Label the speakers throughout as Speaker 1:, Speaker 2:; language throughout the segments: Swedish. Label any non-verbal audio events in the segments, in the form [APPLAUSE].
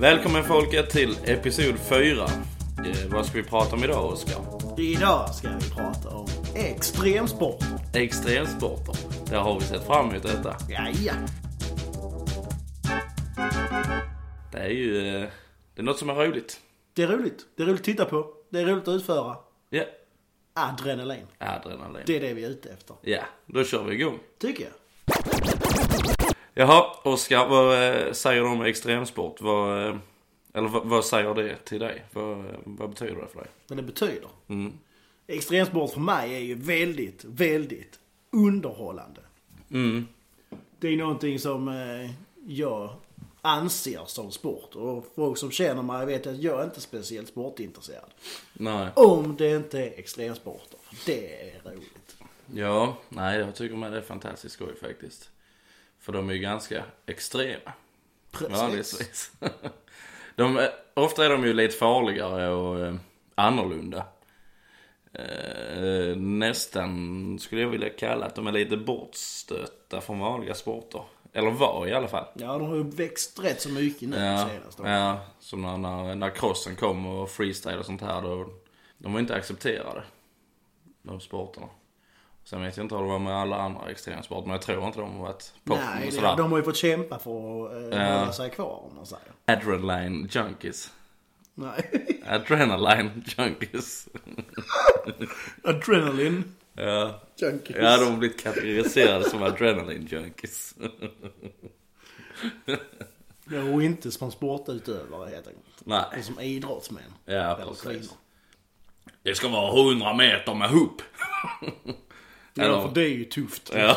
Speaker 1: Välkommen folket till episod 4. Eh, vad ska vi prata om idag Oskar?
Speaker 2: Idag ska vi prata om extremsporter.
Speaker 1: Extremsporter. Där har vi sett fram emot detta.
Speaker 2: Ja, ja.
Speaker 1: Det är ju eh, det är något som är roligt.
Speaker 2: Det är roligt. Det är roligt att titta på. Det är roligt att utföra.
Speaker 1: Ja,
Speaker 2: Adrenalin.
Speaker 1: adrenalin.
Speaker 2: Det är det vi är ute efter.
Speaker 1: Ja, då kör vi igång.
Speaker 2: Tycker jag.
Speaker 1: Jaha, Oskar, vad eh, säger du om extremsport? Vad, eh, eller vad, vad säger det till dig? Vad, eh, vad betyder det för dig?
Speaker 2: Men det betyder.
Speaker 1: Mm.
Speaker 2: Extremsport för mig är ju väldigt, väldigt underhållande.
Speaker 1: Mm.
Speaker 2: Det är någonting som eh, jag anser som sport. Och folk som känner mig vet att jag är inte speciellt sportintresserad.
Speaker 1: Nej.
Speaker 2: Om det inte är extremsporter. För Det är roligt.
Speaker 1: Ja, nej jag tycker med det är fantastiskt skoj faktiskt. För de är ju ganska extrema. Vanligtvis. [LAUGHS] De, är- ofta är de ju lite farligare och eh, annorlunda. Eh, nästan skulle jag vilja kalla att de är lite bortstötta från vanliga sporter. Eller var i alla fall.
Speaker 2: Ja, de har ju växt rätt så mycket nu
Speaker 1: Ja,
Speaker 2: senast.
Speaker 1: ja som när, när, när crossen kom och freestyle och sånt här. Då, de var inte accepterade, de sporterna. Sen vet jag inte hur det var med alla andra extremsporter, men jag tror inte de var ett pop
Speaker 2: Nej,
Speaker 1: och
Speaker 2: det-
Speaker 1: sådär.
Speaker 2: de har ju fått kämpa för att eh,
Speaker 1: Ja.
Speaker 2: hålla sig kvar om man säger.
Speaker 1: Adrenaline junkies.
Speaker 2: Nej. [LAUGHS]
Speaker 1: Adrenaline junkies.
Speaker 2: Adrenalin.
Speaker 1: ja.
Speaker 2: Junkies.
Speaker 1: ja, de har blivit kategoriserade som adrenaline junkies.
Speaker 2: Ja, Och inte som sportutövare helt enkelt.
Speaker 1: Nej,
Speaker 2: Och som idrottsmän.
Speaker 1: ja
Speaker 2: Eller
Speaker 1: precis.
Speaker 2: kvinnor.
Speaker 1: Det ska vara 100 meter med hopp. Eller-
Speaker 2: Ja, för det är ju tufft.
Speaker 1: Ja.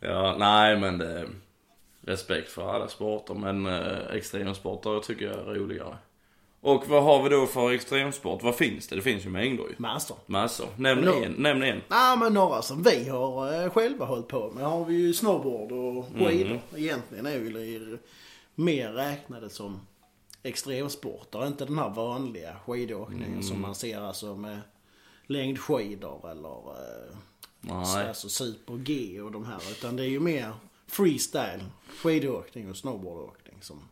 Speaker 1: ja, nej men det... Respekt för alla sporter men eh, extremsporter tycker jag är roligare. Och vad har vi då för extremsport? Vad finns det? Det finns ju mängder ju.
Speaker 2: Master.
Speaker 1: Massor. Nämn
Speaker 2: No.
Speaker 1: en. Nämn en.
Speaker 2: Nej men några som vi har eh, själva hållit på med har vi ju snowboard och
Speaker 1: Mm.
Speaker 2: skidor. Egentligen är väl det mer räknade som extremsporter. Inte den här vanliga skidåkningen
Speaker 1: Mm.
Speaker 2: som man ser alltså med längdskidor eller eh, så-
Speaker 1: Nej.
Speaker 2: alltså super-G och de här. Utan det är ju mer freestyle, skidåkning och snowboardåkning som,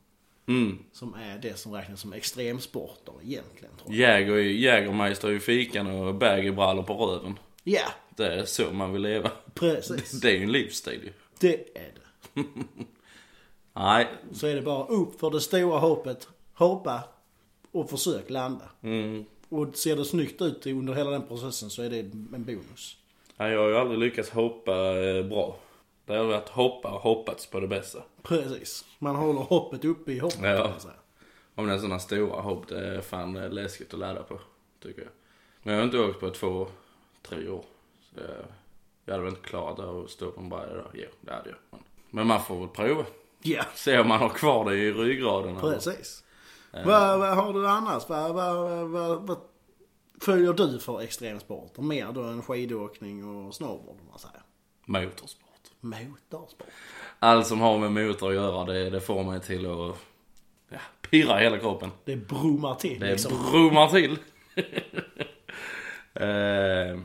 Speaker 1: Mm.
Speaker 2: som är det som räknas som extremsporter egentligen. Tror jag.
Speaker 1: Jäger, Jägermeister i fikan och baggybrallor på röven.
Speaker 2: Ja,
Speaker 1: Det är så man vill leva.
Speaker 2: precis.
Speaker 1: [LAUGHS] Det är ju en livsstil ju.
Speaker 2: Det är det.
Speaker 1: Nej.
Speaker 2: så är det bara upp för det stora hoppet, hoppa och försök landa.
Speaker 1: Mm.
Speaker 2: Och ser det snyggt ut under hela den processen så är det en bonus.
Speaker 1: Nej, Jag har ju aldrig lyckats hoppa eh, bra. Det har varit hoppa och hoppats på det bästa.
Speaker 2: Precis. Man håller hoppet uppe i hoppet
Speaker 1: Ja.
Speaker 2: kan man säga.
Speaker 1: Om det är sådana stora hopp, det är fan eh, läskigt att ladda på, tycker jag. Men jag har inte åkt på två, tre år. Så jag, jag hade väl inte klarat det att stå på en berg idag. Jo, det hade jag. Men, men man får väl prova.
Speaker 2: Ja,
Speaker 1: Se om man har kvar det i ryggraden. eller-
Speaker 2: precis. Vad, vad har du annars? Vad, vad, vad, vad följer du för extremsporter? Mer då än skidåkning och snowboard om man säger.
Speaker 1: Motorsport.
Speaker 2: Motorsport.
Speaker 1: Allt som har med motor att göra, det, det får mig till att ja, pirra i hela kroppen.
Speaker 2: Det brummar till
Speaker 1: Det
Speaker 2: liksom.
Speaker 1: brummar till. [LAUGHS] eh,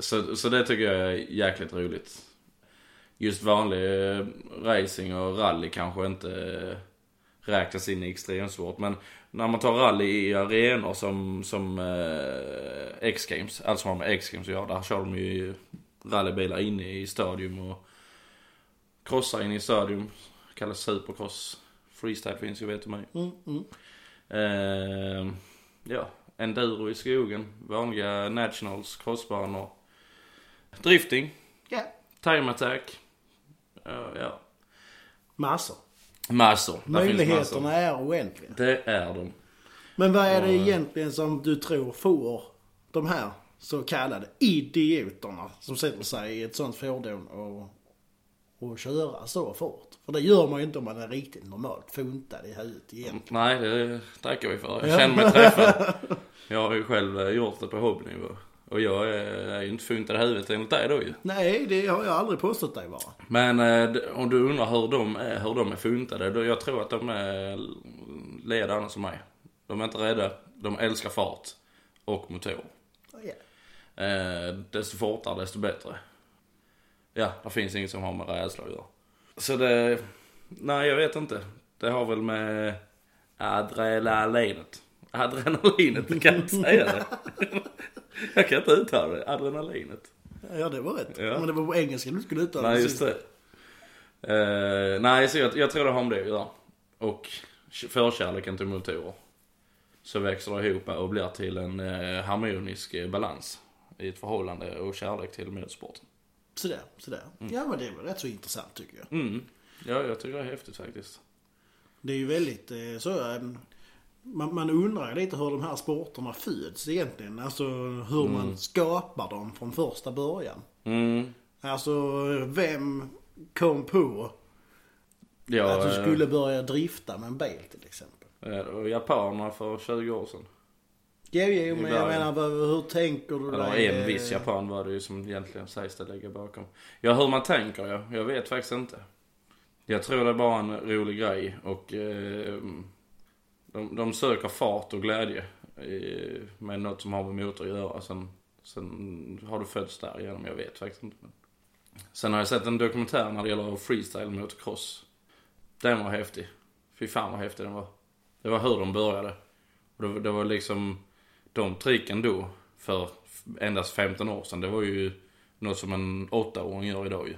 Speaker 1: så, så det tycker jag är jäkligt roligt. Just vanlig eh, racing och rally kanske inte eh, räknas in i extremsport. Men när man tar rally i arenor som, som eh, X-games, allt som har med X-games att göra. Där kör de ju rallybilar inne i stadion och krossar inne i stadion. Kallas supercross. Freestyle finns ju vet du mig.
Speaker 2: Mm, mm.
Speaker 1: Eh, ja, enduro i skogen, vanliga nationals, crossbanor, drifting,
Speaker 2: Ja,
Speaker 1: time attack. Eh, ja.
Speaker 2: massor.
Speaker 1: Massor. Där finns massor.
Speaker 2: Möjligheterna är oändliga.
Speaker 1: Det är de.
Speaker 2: Men vad är det egentligen som du tror får de här så kallade idioterna som sätter sig i ett sånt fordon och, och köra så fort? För det gör man ju inte om man är riktigt normalt funtad i huvudet igen.
Speaker 1: Nej, det tackar vi för.
Speaker 2: Ja.
Speaker 1: Jag känner mig
Speaker 2: [LAUGHS]
Speaker 1: träffad. Jag har ju själv eh, gjort det på hobbynivå. Och jag är är ju inte funtad i huvudet enligt dig då ju.
Speaker 2: Nej, det har jag aldrig påstått dig vara.
Speaker 1: Men eh, d- om du undrar hur de är, hur de är funtade. då- Jag tror att de är ledarna som mig. De är inte rädda, de älskar fart och motor.
Speaker 2: Ja.
Speaker 1: Eh, desto fortare, desto bättre. Ja, det finns inget som har med rädsla att göra. Så det... Nej, jag vet inte. Det har väl med adrenalinet. Adrenalinet, jag kan inte säga det. Jag kan inte uttala det. Adrenalinet.
Speaker 2: Ja, det var rätt.
Speaker 1: Ja.
Speaker 2: Men det var på engelska du skulle uttala
Speaker 1: Nej,
Speaker 2: det
Speaker 1: just
Speaker 2: sist.
Speaker 1: det. Eh, nej, så jag, jag tror det har med det att göra. Och förkärleken till motorer. Så växer det ihop och blir till en eh, harmonisk eh, balans i ett förhållande och kärlek till motorsporten.
Speaker 2: Sådär, sådär. Ja, men det var rätt så intressant tycker jag.
Speaker 1: Mm. Ja, jag tycker det är häftigt faktiskt.
Speaker 2: Det är ju väldigt eh, så. eh, Man, man undrar lite hur de här sporterna föds egentligen. Alltså hur man skapar dem från första början.
Speaker 1: Mm.
Speaker 2: Alltså vem kom på
Speaker 1: Ja,
Speaker 2: att du skulle börja drifta med en bil till exempel?
Speaker 1: eh, det var japanerna för 20 år sedan.
Speaker 2: Jo, jo, men jag
Speaker 1: början.
Speaker 2: menar vad- hur tänker du
Speaker 1: Eller
Speaker 2: dig?
Speaker 1: en
Speaker 2: eh,
Speaker 1: viss japan var det ju som egentligen sägs det ligga bakom. Ja, hur man tänker ja. Jag vet faktiskt inte. Jag tror det är bara en rolig grej och eh, de, de söker fart och glädje eh, med något som har med motor att göra. Sen, sen har du fötts där genom, jag vet faktiskt inte. Men. Sen har jag sett en dokumentär när det gäller freestyle motocross. Den var häftig. Fy fan vad häftig den var. Det var hur de började. Och det, var- det var liksom de tricken då för f- endast 15 år sedan. Det var ju något som en 8-åring gör idag ju.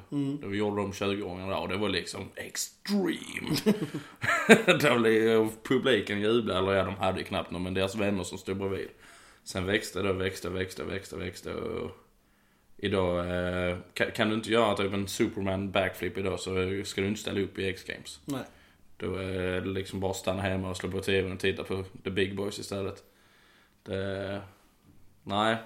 Speaker 1: Det gjorde de 20-åringarna och det var liksom extreme. [LAUGHS] Då blev publiken jublade, eller ja de hade ju knappt någon men deras vänner som stod bredvid. Sen växte det och växte och växte och växte och växte och idag eh, kan, kan du inte göra typ en superman backflip idag så ska du inte ställa upp i X-games.
Speaker 2: Nej.
Speaker 1: Då är det liksom bara stanna hemma och slå på tvn och titta på the big boys istället. Det... Nej.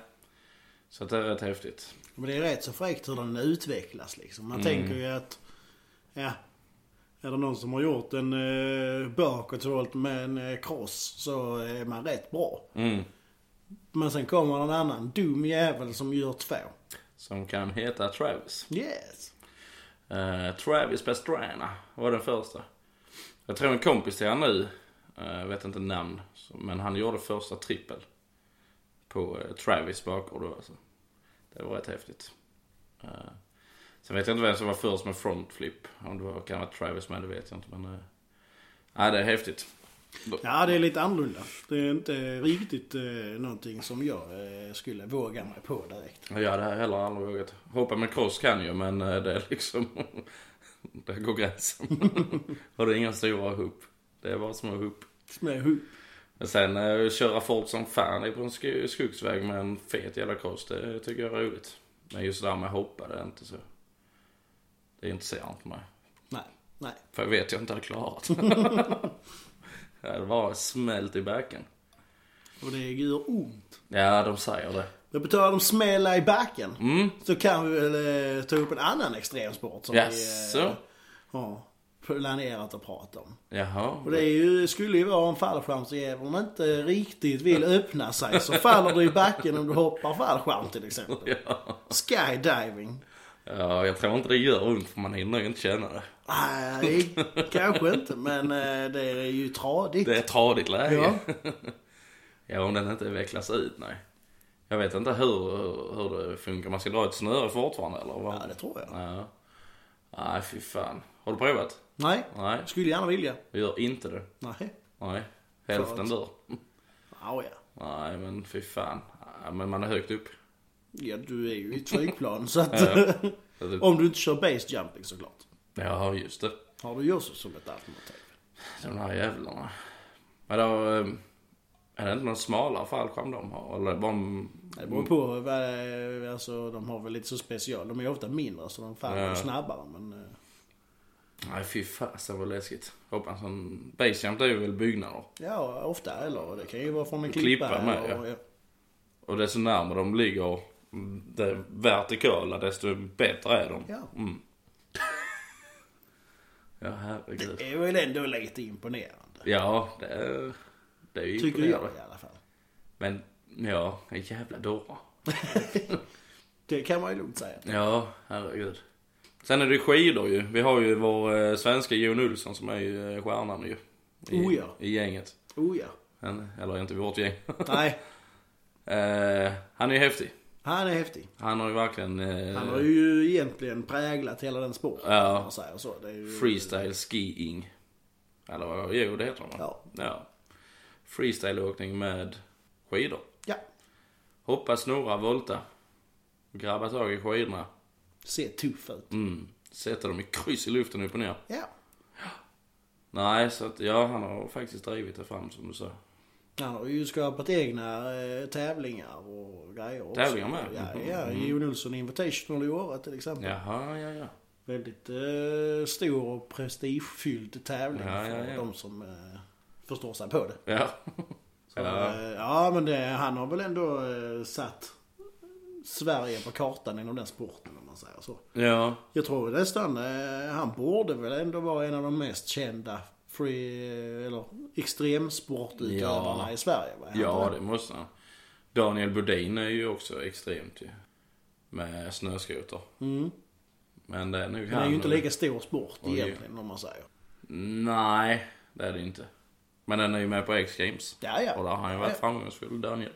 Speaker 1: Så att det är rätt häftigt.
Speaker 2: Men det är rätt så fräckt hur den utvecklas liksom.
Speaker 1: Mm.
Speaker 2: Man tänker ju att, ja, är det någon som har gjort en eh, bakåtvolt med en eh, cross så är man rätt bra.
Speaker 1: Mm.
Speaker 2: Men sen kommer en annan dum jävel som gör två.
Speaker 1: Som kan heta Travis.
Speaker 2: Yes.
Speaker 1: Eh, Travis Pastrana var den första. Jag tror en kompis till han nu, eh, jag vet inte namn, så- men han gjorde första trippel. På eh, Travis bakgård då alltså. Det var rätt häftigt. Eh, sen vet jag inte vem som var först med frontflip. Om det var, kan vara Travis med, det vet jag inte. Men, eh, nej, det är häftigt.
Speaker 2: Ja, det är lite annorlunda. Det är inte riktigt eh, någonting som jag eh, skulle våga mig på direkt.
Speaker 1: Jag hade heller aldrig vågat. Hoppa med cross kan ju men eh, det är liksom... [LAUGHS] Där går gränsen. [LAUGHS] Har du inga stora hopp. Det är bara små hopp.
Speaker 2: Små hugg.
Speaker 1: Men sen eh, köra fort som fan på en sk- skogsväg med en fet jävla cross, det tycker jag är roligt. Men just det där med hoppa, det är inte så... Det intresserar inte mig.
Speaker 2: Nej, nej.
Speaker 1: För jag vet jag inte hade
Speaker 2: [LAUGHS]
Speaker 1: klarat. det hade bara smält i backen.
Speaker 2: Och det gör ont.
Speaker 1: Ja, de säger det.
Speaker 2: Men på tal om smälla i backen.
Speaker 1: Mm.
Speaker 2: Så kan vi väl eh, ta upp en annan extremsport som vi eh,
Speaker 1: Jaså?
Speaker 2: har planerat att prata om. Och
Speaker 1: Jaha.
Speaker 2: det är ju, skulle ju vara en fallskärmsjävel om man inte riktigt vill öppna sig så faller du i backen om du hoppar fallskärm till exempel.
Speaker 1: Ja.
Speaker 2: Skydiving.
Speaker 1: ja, jag tror inte det gör ont för man hinner ju inte känna det.
Speaker 2: Nej, kanske inte men eh, det är ju tradigt.
Speaker 1: Det är ett tradigt läge.
Speaker 2: Ja.
Speaker 1: [LAUGHS] Ja. om den inte vecklas ut, nej. Jag vet inte hur, hur, hur det funkar. Man ska dra ett snöre fortfarande eller? Vad?
Speaker 2: Ja, det tror jag.
Speaker 1: Ja. Nej, fy fan. Har du provat?
Speaker 2: Nej,
Speaker 1: Nej,
Speaker 2: skulle gärna vilja.
Speaker 1: vi gör inte det.
Speaker 2: Nej.
Speaker 1: Nej, hälften
Speaker 2: Skönt.
Speaker 1: dör.
Speaker 2: Ja, ja.
Speaker 1: Nej, men fy fan. Nej, men man är högt upp.
Speaker 2: ja, du är ju i ett flygplan så att...
Speaker 1: Ja. Så det-
Speaker 2: [LAUGHS] om du inte kör base jumping såklart.
Speaker 1: Ja, just det.
Speaker 2: Har du Josu som ett alternativ?
Speaker 1: De här jävlarna. Men då, eh, är det inte någon smalare fallskärm de har? Eller bara...
Speaker 2: Det beror på. vad- Alltså, de har väl lite så special. De är ofta mindre så de faller
Speaker 1: Ja.
Speaker 2: snabbare. Men, eh,
Speaker 1: Nej, fy fasen vad läskigt. Hoppas en sån... Basejump det är väl byggnader.
Speaker 2: ja, ofta. Eller det kan ju vara från en klippa.
Speaker 1: Klippa med,
Speaker 2: eller, ja.
Speaker 1: Och desto närmare de ligger det vertikala desto bättre är de.
Speaker 2: Ja.
Speaker 1: Mm. ja herregud.
Speaker 2: Det är väl ändå lite imponerande.
Speaker 1: Ja, det är, det är ju
Speaker 2: Tycker
Speaker 1: imponerande.
Speaker 2: jag i alla fall.
Speaker 1: Men ja, en jävla dåre.
Speaker 2: Det kan man ju lugnt säga.
Speaker 1: Ja, herregud. Sen är det skidor ju. Vi har ju vår eh, svenska Jon Olsson som är ju eh, stjärnan ju. I,
Speaker 2: Oh ja.
Speaker 1: I gänget.
Speaker 2: Oh ja.
Speaker 1: Han, eller inte vårt gäng. [LAUGHS]
Speaker 2: Nej,
Speaker 1: eh, han är ju häftig.
Speaker 2: han är häftig.
Speaker 1: Han har ju verkligen... Eh,
Speaker 2: Han har ju egentligen präglat hela den sporten.
Speaker 1: Ja.
Speaker 2: om man säger så. Det är ju...
Speaker 1: Freestyle skiing. Eller vad- jo, det heter de va?
Speaker 2: Ja.
Speaker 1: ja. Freestyleåkning med skidor.
Speaker 2: Ja,
Speaker 1: Hoppa, snurra, volta. Grabba tag i skidorna.
Speaker 2: ser tuff ut.
Speaker 1: Mm. Sätta dem i kryss i luften upp och ner.
Speaker 2: Ja,
Speaker 1: Nej, så att ja, han har faktiskt drivit det fram som du sa.
Speaker 2: han har ju skapat egna eh, tävlingar och grejer också.
Speaker 1: Tävlingar med?
Speaker 2: Ja, ja. Jon Olsson Invitational i Åre till exempel.
Speaker 1: Jaha, ja, ja.
Speaker 2: Väldigt eh, stor och prestigefylld tävling
Speaker 1: Ja, ja,
Speaker 2: för
Speaker 1: ja.
Speaker 2: de som eh, förstår sig på det.
Speaker 1: Ja.
Speaker 2: Så,
Speaker 1: ja.
Speaker 2: eh, ja men det, han har väl ändå eh, satt Sverige på kartan inom den sporten om man säger så.
Speaker 1: ja.
Speaker 2: Jag tror nästan eh, han borde väl ändå vara en av de mest kända free, eller extremsportutövarna
Speaker 1: Ja.
Speaker 2: i Sverige. Va?
Speaker 1: Ja, det måste han. Daniel Bodin är ju också extremt ju. Med snöskoter.
Speaker 2: Mm.
Speaker 1: Men det är nog
Speaker 2: Men det är ju inte
Speaker 1: och-
Speaker 2: lika stor sport
Speaker 1: Oj.
Speaker 2: egentligen om man säger.
Speaker 1: Nej, det är det inte. Men den är ju med på X-Games.
Speaker 2: Ja, ja.
Speaker 1: Och där har han ju varit
Speaker 2: Ja, ja.
Speaker 1: framgångsfull, Daniel.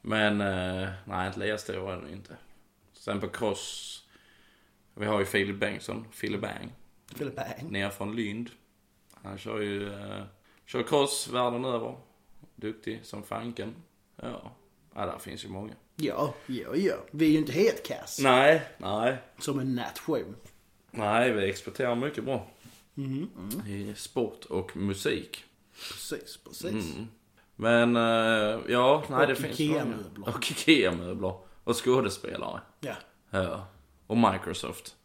Speaker 1: Men eh, nej, inte lika stor är den inte. Sen på cross. Vi har ju Filip Bengtsson, Fille Bang.
Speaker 2: Philip Bang.
Speaker 1: Ner från Lund. Han kör ju eh, kör cross världen över. Duktig som fanken. Ja, ja där finns ju många.
Speaker 2: Ja, ja, ja. Vi är ju inte helt kass
Speaker 1: Nej, nej,
Speaker 2: som en nation.
Speaker 1: nej. Vi exporterar mycket bra. I sport och musik.
Speaker 2: Precis, precis.
Speaker 1: Mm. Men eh, ja, nej
Speaker 2: Och
Speaker 1: det finns
Speaker 2: IKEA-möbler.
Speaker 1: många. Och IKEA-möbler. Och skådespelare.
Speaker 2: Ja.
Speaker 1: Ja. Och Microsoft.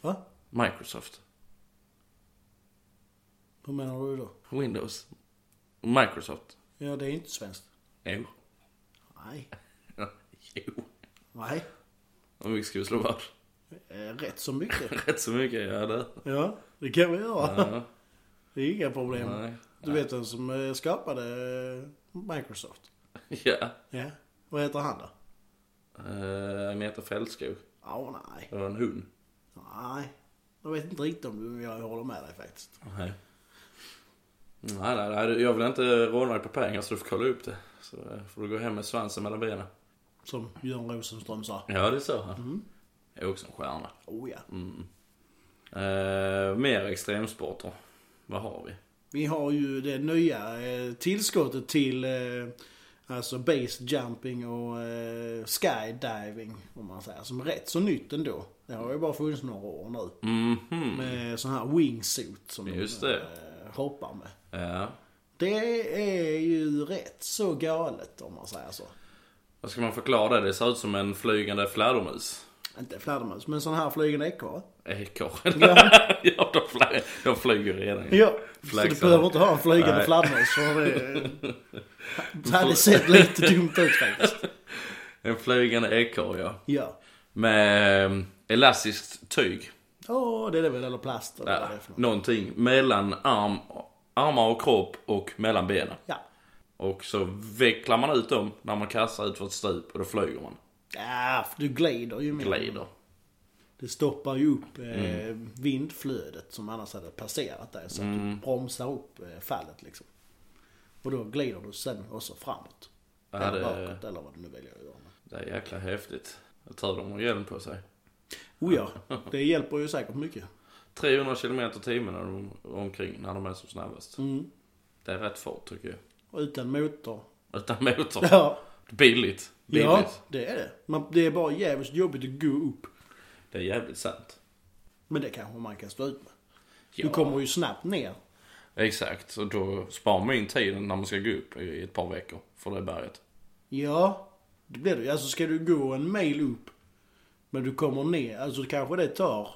Speaker 2: Va?
Speaker 1: Microsoft.
Speaker 2: Hur menar du då?
Speaker 1: Windows. Microsoft.
Speaker 2: Ja, det är inte svenskt.
Speaker 1: [LAUGHS] Jo.
Speaker 2: Nej.
Speaker 1: jo.
Speaker 2: Nej.
Speaker 1: Hur mycket ska vi slå vad?
Speaker 2: Eh, Rätt så
Speaker 1: [LAUGHS]
Speaker 2: mycket.
Speaker 1: Rätt så mycket, ja det.
Speaker 2: Ja, det kan vi göra.
Speaker 1: Ja,
Speaker 2: Det är inga problem.
Speaker 1: nej.
Speaker 2: Du vet vem som eh, skapade eh, Microsoft?
Speaker 1: [LAUGHS] Ja.
Speaker 2: Ja. Vad heter han då?
Speaker 1: Uh, Agneta Fältskog.
Speaker 2: Ja, nej.
Speaker 1: Det var en hund.
Speaker 2: Nej. Jag vet inte riktigt om jag håller med dig faktiskt.
Speaker 1: Nej. Nej, nej, nej, jag vill inte råna dig på pengar så du får kolla upp det. Så eh, får du gå hem med svansen mellan benen.
Speaker 2: Som Björn Rosenström sa.
Speaker 1: Ja, det sa han. Jag är också en stjärna.
Speaker 2: Oh ja.
Speaker 1: Mm. Eh, mer extremsporter. Vad har vi?
Speaker 2: Vi har ju det nya eh, tillskottet till eh, alltså base jumping och eh, skydiving om man säger. Som är rätt så nytt ändå. Det har ju bara funnits några år nu.
Speaker 1: Mhm.
Speaker 2: Med sån här wingsuit som
Speaker 1: Just
Speaker 2: de
Speaker 1: det.
Speaker 2: eh, hoppar med.
Speaker 1: Ja.
Speaker 2: Det är ju rätt så galet om man säger så.
Speaker 1: Vad ska man förklara det? Det ser ut som en flygande fladdermus.
Speaker 2: Inte fladdermus men sån här flygande ekorre.
Speaker 1: [LAUGHS] Ekorre.
Speaker 2: Ja.
Speaker 1: ja, de, fly- de flyger redan.
Speaker 2: Ja, så
Speaker 1: Flaggsamma.
Speaker 2: du behöver inte ha en flygande
Speaker 1: Nej.
Speaker 2: fladdermus för det,
Speaker 1: [LAUGHS]
Speaker 2: det hade sett lite dumt ut faktiskt.
Speaker 1: En flygande ekorre, ja.
Speaker 2: Ja.
Speaker 1: Med eh, elastiskt tyg.
Speaker 2: Åh, det är det väl, eller plast eller vad
Speaker 1: Ja,
Speaker 2: det är för något.
Speaker 1: någonting mellan arm, armar och kropp och mellan benen.
Speaker 2: Ja.
Speaker 1: Och så vecklar man ut dem när man kastar ut för ett stup och då flyger man.
Speaker 2: Ja, för du glider ju mer.
Speaker 1: Glider.
Speaker 2: Det stoppar ju upp eh,
Speaker 1: Mm.
Speaker 2: vindflödet som annars hade passerat dig. Så att du bromsar upp eh, fallet liksom. Och då glider du sen också framåt.
Speaker 1: Ja,
Speaker 2: eller
Speaker 1: det-
Speaker 2: bakåt eller vad du nu väljer att göra.
Speaker 1: Det är jäkla häftigt. Jag tror de har hjälm på sig.
Speaker 2: Oh ja, det hjälper ju säkert mycket.
Speaker 1: 300 km timmen när de, omkring när de är som snabbast.
Speaker 2: Mm.
Speaker 1: Det är rätt fort tycker jag.
Speaker 2: Och utan motor.
Speaker 1: Utan motor.
Speaker 2: Ja,
Speaker 1: Billigt. Billigt.
Speaker 2: ja det är det. Man, det är bara jävligt jobbigt att gå upp.
Speaker 1: Det är jävligt sant.
Speaker 2: Men det kanske man kan stå ut med.
Speaker 1: Ja,
Speaker 2: Du kommer ju snabbt ner.
Speaker 1: Exakt. Och då sparar man in tiden när man ska gå upp i ett par veckor för det berget.
Speaker 2: Ja, det blir det Alltså ska du gå en mil upp, men du kommer ner, alltså kanske det tar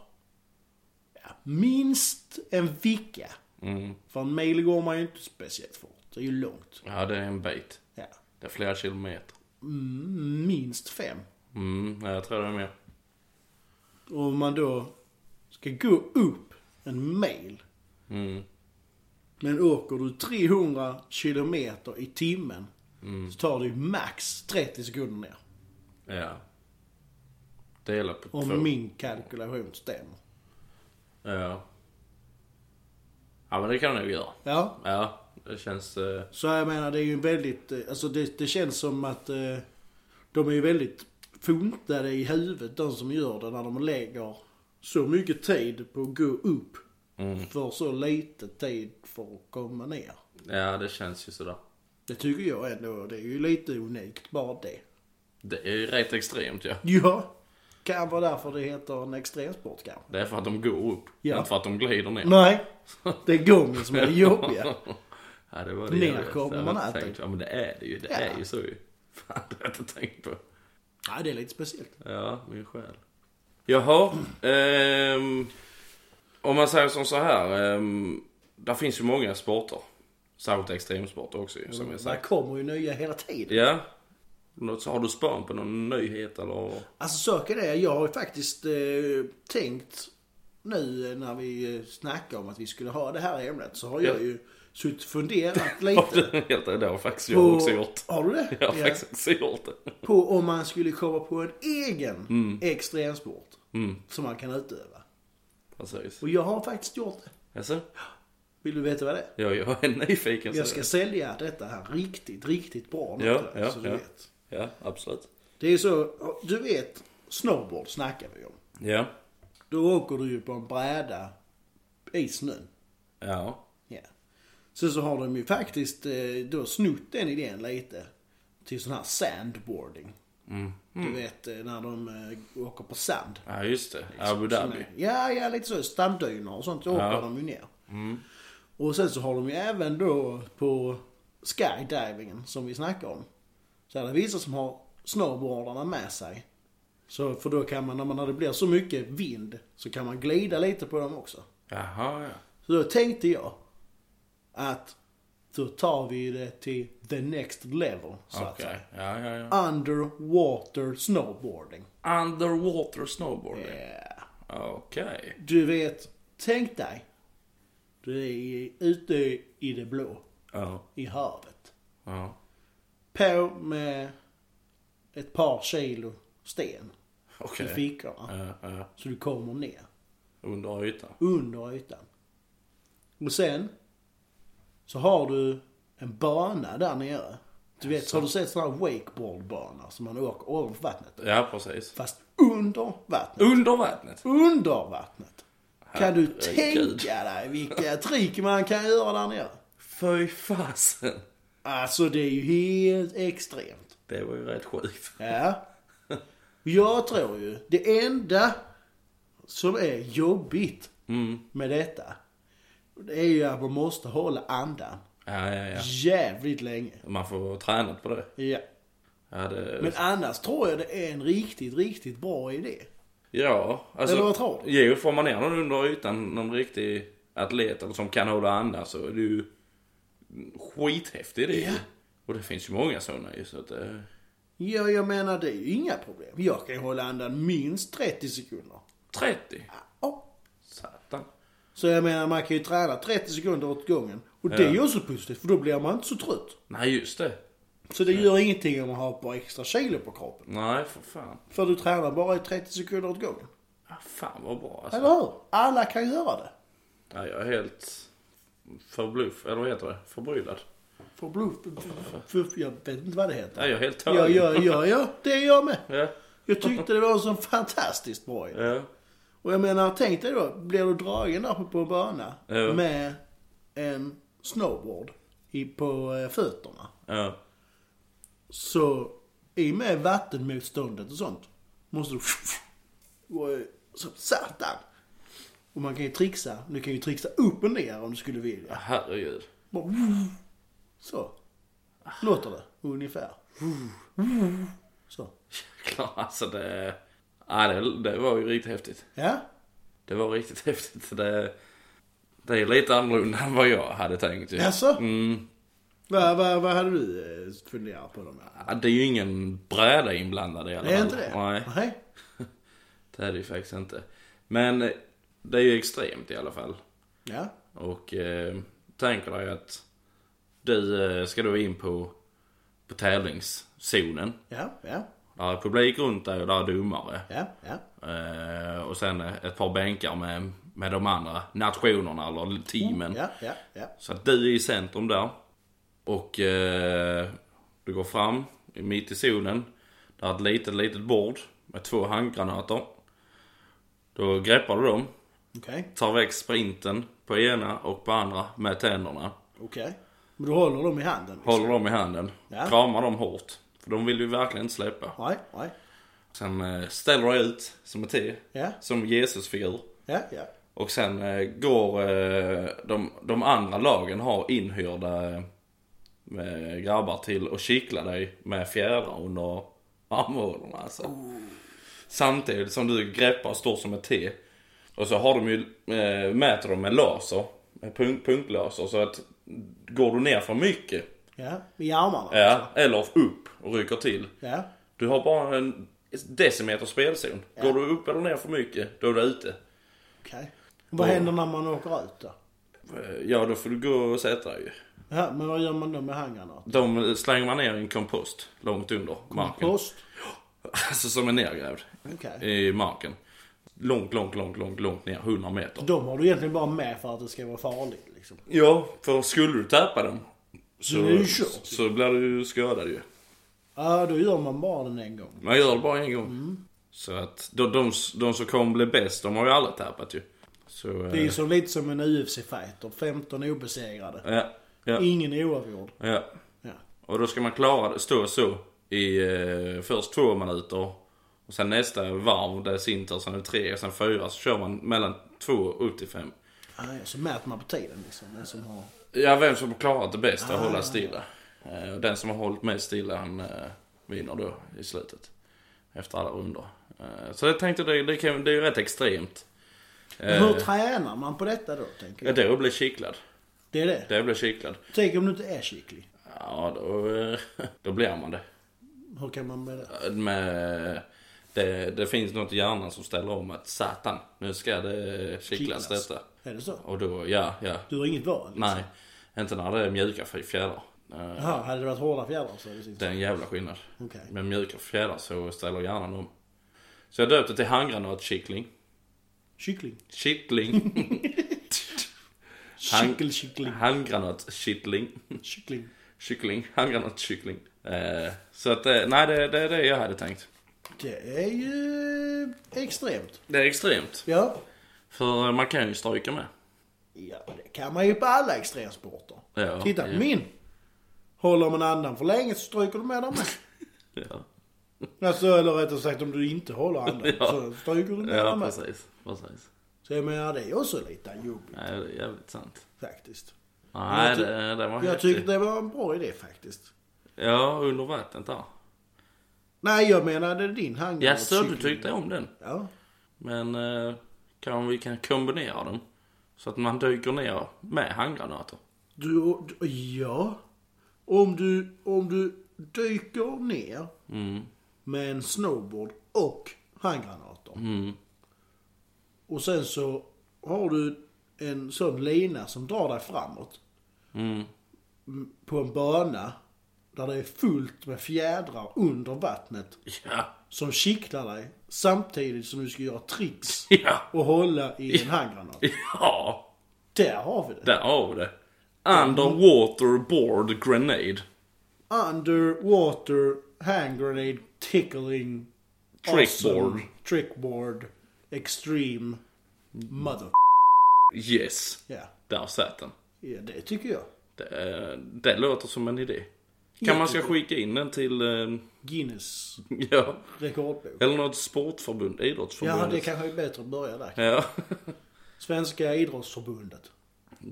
Speaker 2: ja, minst en vecka.
Speaker 1: Mm.
Speaker 2: För en mil går man ju inte speciellt fort. Det är ju långt.
Speaker 1: Ja, det är en bit.
Speaker 2: Ja.
Speaker 1: Det är flera kilometer.
Speaker 2: Mm, minst fem.
Speaker 1: Mm, ja, jag tror det är mer.
Speaker 2: Och om man då ska gå upp en mil,
Speaker 1: Mm.
Speaker 2: men åker du 300 kilometer i timmen, så tar det ju max 30 sekunder ner.
Speaker 1: Ja. Dela på två.
Speaker 2: Om min kalkylation stämmer.
Speaker 1: Ja. Ja, men det kan jag nog göra.
Speaker 2: Ja,
Speaker 1: Ja, det känns... Eh...
Speaker 2: Så jag menar det är ju en väldigt, eh, alltså det, det känns som att eh, de är ju väldigt funtade i huvudet de som gör det när de lägger så mycket tid på att gå upp för så lite tid för att komma ner.
Speaker 1: Ja, det känns ju sådär.
Speaker 2: Det tycker jag ändå. Det är ju lite unikt bara det.
Speaker 1: Det är ju rätt extremt ja.
Speaker 2: Ja. Kan vara därför det heter en extremsport kanske.
Speaker 1: Det är för att de går upp,
Speaker 2: Ja.
Speaker 1: inte för att de glider ner.
Speaker 2: Nej. [LAUGHS] Det är gången som är det jobbiga.
Speaker 1: [LAUGHS] Ja, det var
Speaker 2: Ner
Speaker 1: jävligt. Jag
Speaker 2: kommer
Speaker 1: hade
Speaker 2: man
Speaker 1: inte
Speaker 2: att
Speaker 1: tänkt. Ja, men det är det ju. Det
Speaker 2: Ja.
Speaker 1: är ju så ju. Fan, det har jag inte tänkt på.
Speaker 2: Nej, det är lite speciellt.
Speaker 1: Ja, min själ. Jaha. ehm, om man säger som så här. Um, där finns ju många sporter. Särskilt extremsporter också ju, som jag
Speaker 2: Där
Speaker 1: sagt.
Speaker 2: kommer ju nya hela tiden.
Speaker 1: Ja. Något- Så har du spön på någon nyhet eller?
Speaker 2: Alltså söker det. Jag har ju faktiskt eh, tänkt nu när vi eh, snackade om att vi skulle ha det här ämnet så har jag
Speaker 1: Ja.
Speaker 2: ju suttit och
Speaker 1: [LAUGHS]
Speaker 2: funderat
Speaker 1: Har
Speaker 2: lite.
Speaker 1: du- Helt ärligt, det har faktiskt jag också gjort.
Speaker 2: Har du det?
Speaker 1: Jag har
Speaker 2: Ja.
Speaker 1: faktiskt också gjort det. [LAUGHS]
Speaker 2: På om man skulle komma på en egen
Speaker 1: Mm.
Speaker 2: extremsport som man kan utöva.
Speaker 1: Precis.
Speaker 2: Och jag har faktiskt gjort det.
Speaker 1: Alltså,
Speaker 2: Vill du veta vad det är?
Speaker 1: jag, jag är nyfiken. så
Speaker 2: Jag ska sälja detta här riktigt, riktigt bra nu
Speaker 1: Alltså, eh, Ja, ja,
Speaker 2: till dig, så du
Speaker 1: ja.
Speaker 2: vet.
Speaker 1: Ja, absolut.
Speaker 2: Det är så, du vet, snowboard snackar vi om.
Speaker 1: Ja.
Speaker 2: Då åker du ju på en bräda i snön.
Speaker 1: Ja.
Speaker 2: Ja. Sen så har de ju faktiskt eh, då snott den idén lite till sån här sandboarding.
Speaker 1: Mm.
Speaker 2: Du vet eh, när de eh, åker på sand.
Speaker 1: Ja, just det. Abu
Speaker 2: Som
Speaker 1: Dhabi.
Speaker 2: är- Ja, ja lite så. Stamdyner och sånt. Då åker
Speaker 1: Ja. Mm.
Speaker 2: de ju ner. Och sen så har de ju även då på skydivingen som vi snackade om. Så är det vissa som har snowboardarna med sig. Så, för då kan man, när man- när det blir så mycket vind, så kan man glida lite på dem också.
Speaker 1: Jaha, ja.
Speaker 2: Så då tänkte jag att då tar vi det till the next level, så att säga.
Speaker 1: Okej. Ja, ja, ja.
Speaker 2: Underwater snowboarding.
Speaker 1: Underwater snowboarding.
Speaker 2: Yeah.
Speaker 1: Okej.
Speaker 2: Du vet, tänk dig. Du är ute i det blå,
Speaker 1: Ja.
Speaker 2: i havet.
Speaker 1: Ja.
Speaker 2: På med ett par kilo sten
Speaker 1: Okej.
Speaker 2: i fickorna.
Speaker 1: Ja, ja.
Speaker 2: Så du kommer ner,
Speaker 1: Under ytan.
Speaker 2: under ytan. Och sen så har du en bana där nere. Du vet, har du sett sådana här wakeboardbanor som man åker ovanför vattnet?
Speaker 1: Ja, precis.
Speaker 2: Fast under vattnet.
Speaker 1: Under vattnet.
Speaker 2: Under vattnet. Kan du
Speaker 1: Herregud.
Speaker 2: tänka dig vilka trick man kan göra där nere?
Speaker 1: Fy fasen.
Speaker 2: Alltså det är ju helt extremt.
Speaker 1: Det var ju rätt sjukt.
Speaker 2: Ja. Jag tror ju det enda som är jobbigt med detta. Det är ju att man måste hålla andan
Speaker 1: Ja, ja, ja.
Speaker 2: jävligt länge.
Speaker 1: Man får träna på det.
Speaker 2: Ja.
Speaker 1: Ja, det...
Speaker 2: Men annars tror jag det är en riktigt, riktigt bra idé.
Speaker 1: ja alltså...
Speaker 2: Eller vad tror du?
Speaker 1: Jo, får man ner någon under ytan, någon riktig atlet eller som kan hålla andan så är det ju skithäftig det.
Speaker 2: Ja.
Speaker 1: Och det finns ju många sådana ju så att eh, det...
Speaker 2: Ja, jag menar det är ju inga problem. Jag kan ju hålla andan minst 30 sekunder.
Speaker 1: 30!
Speaker 2: Ja.
Speaker 1: Satan.
Speaker 2: Så jag menar man kan ju träna 30 sekunder åt gången. Och det är ju också positivt för då blir man inte så trött.
Speaker 1: Nej, just det.
Speaker 2: Så det gör ingenting om man har ett par extra kilo på kroppen.
Speaker 1: Nej, för fan.
Speaker 2: För du tränar bara i 30 sekunder åt gången.
Speaker 1: Ja, fan vad bra alltså.
Speaker 2: Eller hur? Alla kan göra det.
Speaker 1: Ja, jag är helt förbluff, eller vad heter det? Förbryllad.
Speaker 2: För bluff, för- för- för- jag vet inte vad det heter.
Speaker 1: Ja, jag är helt
Speaker 2: Ja,
Speaker 1: tagen.
Speaker 2: ja, ja, ja, det är jag med.
Speaker 1: Ja,
Speaker 2: Jag tyckte det var en sån fantastiskt bra idé.
Speaker 1: ja,
Speaker 2: Och jag menar, tänk dig då, blir du dragen där på en bana
Speaker 1: Ja.
Speaker 2: med en snowboard i, på eh, fötterna.
Speaker 1: ja.
Speaker 2: Så i och med vattenmotståndet och sånt måste du... Och, eh, Som satan! Och man kan ju trixa. Du kan ju trixa upp och ner om du skulle vilja.
Speaker 1: Herregud.
Speaker 2: Bara, Så. Låter det ungefär. Så.
Speaker 1: Klart, alltså det... Ja, det, det var ju riktigt häftigt.
Speaker 2: Ja.
Speaker 1: Det var riktigt [LAUGHS] häftigt. Det, det är lite annorlunda än vad jag hade tänkt ju.
Speaker 2: Jaså?
Speaker 1: Mm.
Speaker 2: Vad vad- vad hade du eh, funderat på då? med?
Speaker 1: Ja, det är ju ingen bräda inblandad i alla
Speaker 2: Det är
Speaker 1: fall.
Speaker 2: inte det?
Speaker 1: Nej,
Speaker 2: Nej.
Speaker 1: det är det ju faktiskt inte. Men eh, det är ju extremt i alla fall.
Speaker 2: Ja.
Speaker 1: Och eh, tänker dig att du eh, ska då in på, på tävlingszonen.
Speaker 2: Ja. Ja.
Speaker 1: Där är publik runt dig och där är domare.
Speaker 2: Ja. Ja.
Speaker 1: Eh, och sen eh, ett par bänkar med, med de andra nationerna eller teamen.
Speaker 2: Ja. Ja. Ja.
Speaker 1: Så att du är i centrum där. Och eh, du går fram i- mitt i zonen. Där är ett litet, litet bord med två handgranater. Då greppar du dem.
Speaker 2: Okej.
Speaker 1: Tar väck sprinten på ena och på andra med tänderna.
Speaker 2: Okej. Men du håller dem i handen? liksom?
Speaker 1: Håller dem i handen.
Speaker 2: Ja.
Speaker 1: Kramar dem hårt. För de vill ju verkligen inte släppa.
Speaker 2: Nej, nej.
Speaker 1: Sen eh, ställer jag ut som ett T.
Speaker 2: Ja,
Speaker 1: Som Jesusfigur.
Speaker 2: ja, ja.
Speaker 1: Och sen eh, går eh, de, de andra lagen har inhyrda eh, med grabbar till och kittla dig med fjädrar under armhålorna alltså. Samtidigt som du greppar och står som ett T. Och så har de ju, eh, mäter de med laser, med punkt, punktlaser. Så att går du ner för mycket,
Speaker 2: Ja, i armarna?
Speaker 1: ja, eller upp och rycker till.
Speaker 2: Ja,
Speaker 1: Du har bara en decimeter spelzon. Går du upp eller ner för mycket, då är du ute.
Speaker 2: okej. Vad händer när man åker ut då?
Speaker 1: Eh, Ja, då får du gå och sätta dig ju.
Speaker 2: Ja, men vad gör man då med handgranater?
Speaker 1: De slänger man ner i en kompost långt under marken.
Speaker 2: Post?
Speaker 1: [LAUGHS] Alltså som är nergrävd
Speaker 2: Okej.
Speaker 1: i marken. Långt, långt, långt, långt, långt ner. 100 meter.
Speaker 2: De har du egentligen bara med för att det ska vara farligt liksom.
Speaker 1: Ja, för skulle du tappa dem så,
Speaker 2: Det är ju kört.
Speaker 1: så blir du ju skadad ju.
Speaker 2: Ja, då gör man bara den en gång.
Speaker 1: Man gör det bara en gång.
Speaker 2: Mm.
Speaker 1: Så att de, de, de som kommer bli bäst, de har ju aldrig tappat ju. Så...
Speaker 2: Det är
Speaker 1: eh,
Speaker 2: ju så lite som en UFC-fighter. 15 obesegrade.
Speaker 1: Ja, ja,
Speaker 2: Ingen oavgjord.
Speaker 1: ja.
Speaker 2: Ja.
Speaker 1: Och då ska man klara det, stå så i eh, först två minuter. Och sen nästa varv, det är sin tur, sen är det tre, sen fyra. Så kör man mellan två och upp till fem.
Speaker 2: Ah, ja, så mäter man på tiden liksom. Den som har...
Speaker 1: Ja, vem som har klarat det bäst att hålla stilla. Eh, och den som har hållit mest stilla, han eh, vinner då i slutet. Efter alla runder. Eh, så jag tänkte, det, det, kan, det är ju rätt extremt.
Speaker 2: Men Hur tränar man på detta då, tänker
Speaker 1: Ja,
Speaker 2: jag?
Speaker 1: då blir kittlad.
Speaker 2: Det är det.
Speaker 1: Det blir kittlad.
Speaker 2: Tänk om du inte är skicklig.
Speaker 1: Ja, då, eh, [LAUGHS] då blir man det.
Speaker 2: Hur kan man med det?
Speaker 1: med, det, det finns något i hjärnan som ställer om att satan, nu ska det kittlas
Speaker 2: Kittlas.
Speaker 1: detta.
Speaker 2: Är det så?
Speaker 1: Och då, ja, ja.
Speaker 2: Du har inget val? Liksom.
Speaker 1: Nej, inte när det är mjuka fj- fjädrar. Eh,
Speaker 2: Jaha, hade det varit hårda fjädrar så hade
Speaker 1: Det
Speaker 2: det syns.
Speaker 1: är en jävla skillnad.
Speaker 2: Okej.
Speaker 1: Med mjuka fjädrar så ställer hjärnan om. Så jag döpte till handgranatkittling.
Speaker 2: Kyckling.
Speaker 1: Kittling. [LAUGHS] Han-
Speaker 2: Kyckelkyckling.
Speaker 1: Handgranatkittling.
Speaker 2: Kyckling.
Speaker 1: Kyckling. Handgranatkyckling. Eh, Så att, eh, nej det, det är det jag hade tänkt.
Speaker 2: Det är ju extremt.
Speaker 1: Det är extremt.
Speaker 2: Ja.
Speaker 1: För man kan ju stryka med.
Speaker 2: Ja, det kan man ju på alla extremsporter.
Speaker 1: Ja,
Speaker 2: Titta på
Speaker 1: ja.
Speaker 2: min. Håller man andan för länge så stryker du med dem med.
Speaker 1: Ja.
Speaker 2: Alltså, eller rättare sagt om du inte håller andan
Speaker 1: [LAUGHS] Ja.
Speaker 2: så stryker du med
Speaker 1: Ja,
Speaker 2: dem med.
Speaker 1: precis. precis.
Speaker 2: Så jag menar, det är också lite jobbigt
Speaker 1: Nej, det är jävligt sant.
Speaker 2: faktiskt.
Speaker 1: Nej,
Speaker 2: Jag ty-
Speaker 1: det, det var
Speaker 2: Jag
Speaker 1: häftigt.
Speaker 2: tyckte det var en bra idé faktiskt.
Speaker 1: Ja, under vattnet där.
Speaker 2: Nej, jag menade din handgranat.
Speaker 1: Jaså, du
Speaker 2: kyckling.
Speaker 1: tyckte om den?
Speaker 2: Ja.
Speaker 1: Men eh, kan vi kan kombinera dem? Så att man dyker ner med handgranater.
Speaker 2: Du, du, ja. Om du, om du dyker ner med en snowboard och handgranater. Och sen så har du en sån lina som drar dig framåt. M- På en bana där det är fullt med fjädrar under vattnet
Speaker 1: Ja,
Speaker 2: som kittlar dig samtidigt som du ska göra tricks
Speaker 1: ja,
Speaker 2: och hålla i en handgranat.
Speaker 1: ja.
Speaker 2: Där har vi det.
Speaker 1: Där har vi det. Underwater board grenade.
Speaker 2: underwater hand grenade tickling
Speaker 1: Trickboard.
Speaker 2: trickboard extreme mother
Speaker 1: Yes.
Speaker 2: ja.
Speaker 1: Där satt den.
Speaker 2: ja, det tycker jag.
Speaker 1: Det, eh, det låter som en idé. Kan man ska skicka in den till, eh,
Speaker 2: Guinness
Speaker 1: ja,
Speaker 2: rekordbok.
Speaker 1: eller något sportförbund, idrottsförbund.
Speaker 2: Ja, det kanske är bättre att börja där.
Speaker 1: Ja.
Speaker 2: Svenska idrottsförbundet.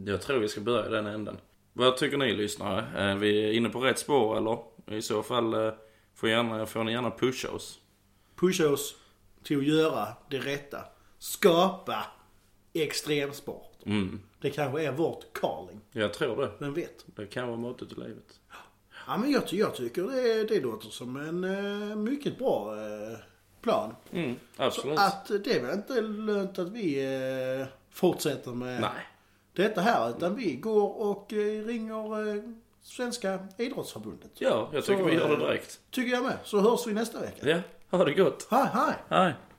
Speaker 1: Jag tror vi ska börja i den änden. Vad tycker ni lyssnare? Är vi inne på rätt spår eller? I så fall eh, får, gärna, får ni gärna pusha oss.
Speaker 2: Pusha oss till att göra det rätta. Skapa extremsport. Det kanske är vårt calling.
Speaker 1: Jag tror det.
Speaker 2: Vem vet?
Speaker 1: Det kan vara måttet i livet.
Speaker 2: Ja, men jag, ty- jag tycker det, det låter som en eh, mycket bra eh, plan.
Speaker 1: Mm, absolut.
Speaker 2: Att det är väl inte lönt att vi eh, fortsätter med
Speaker 1: Nej.
Speaker 2: detta här. Utan vi går och eh, ringer eh, Svenska Idrottsförbundet.
Speaker 1: Ja, jag tycker
Speaker 2: Så,
Speaker 1: vi gör det
Speaker 2: eh,
Speaker 1: direkt.
Speaker 2: Tycker jag med. Så hörs vi nästa vecka.
Speaker 1: Ja, ha det gott.
Speaker 2: Hej, hej!
Speaker 1: Hej.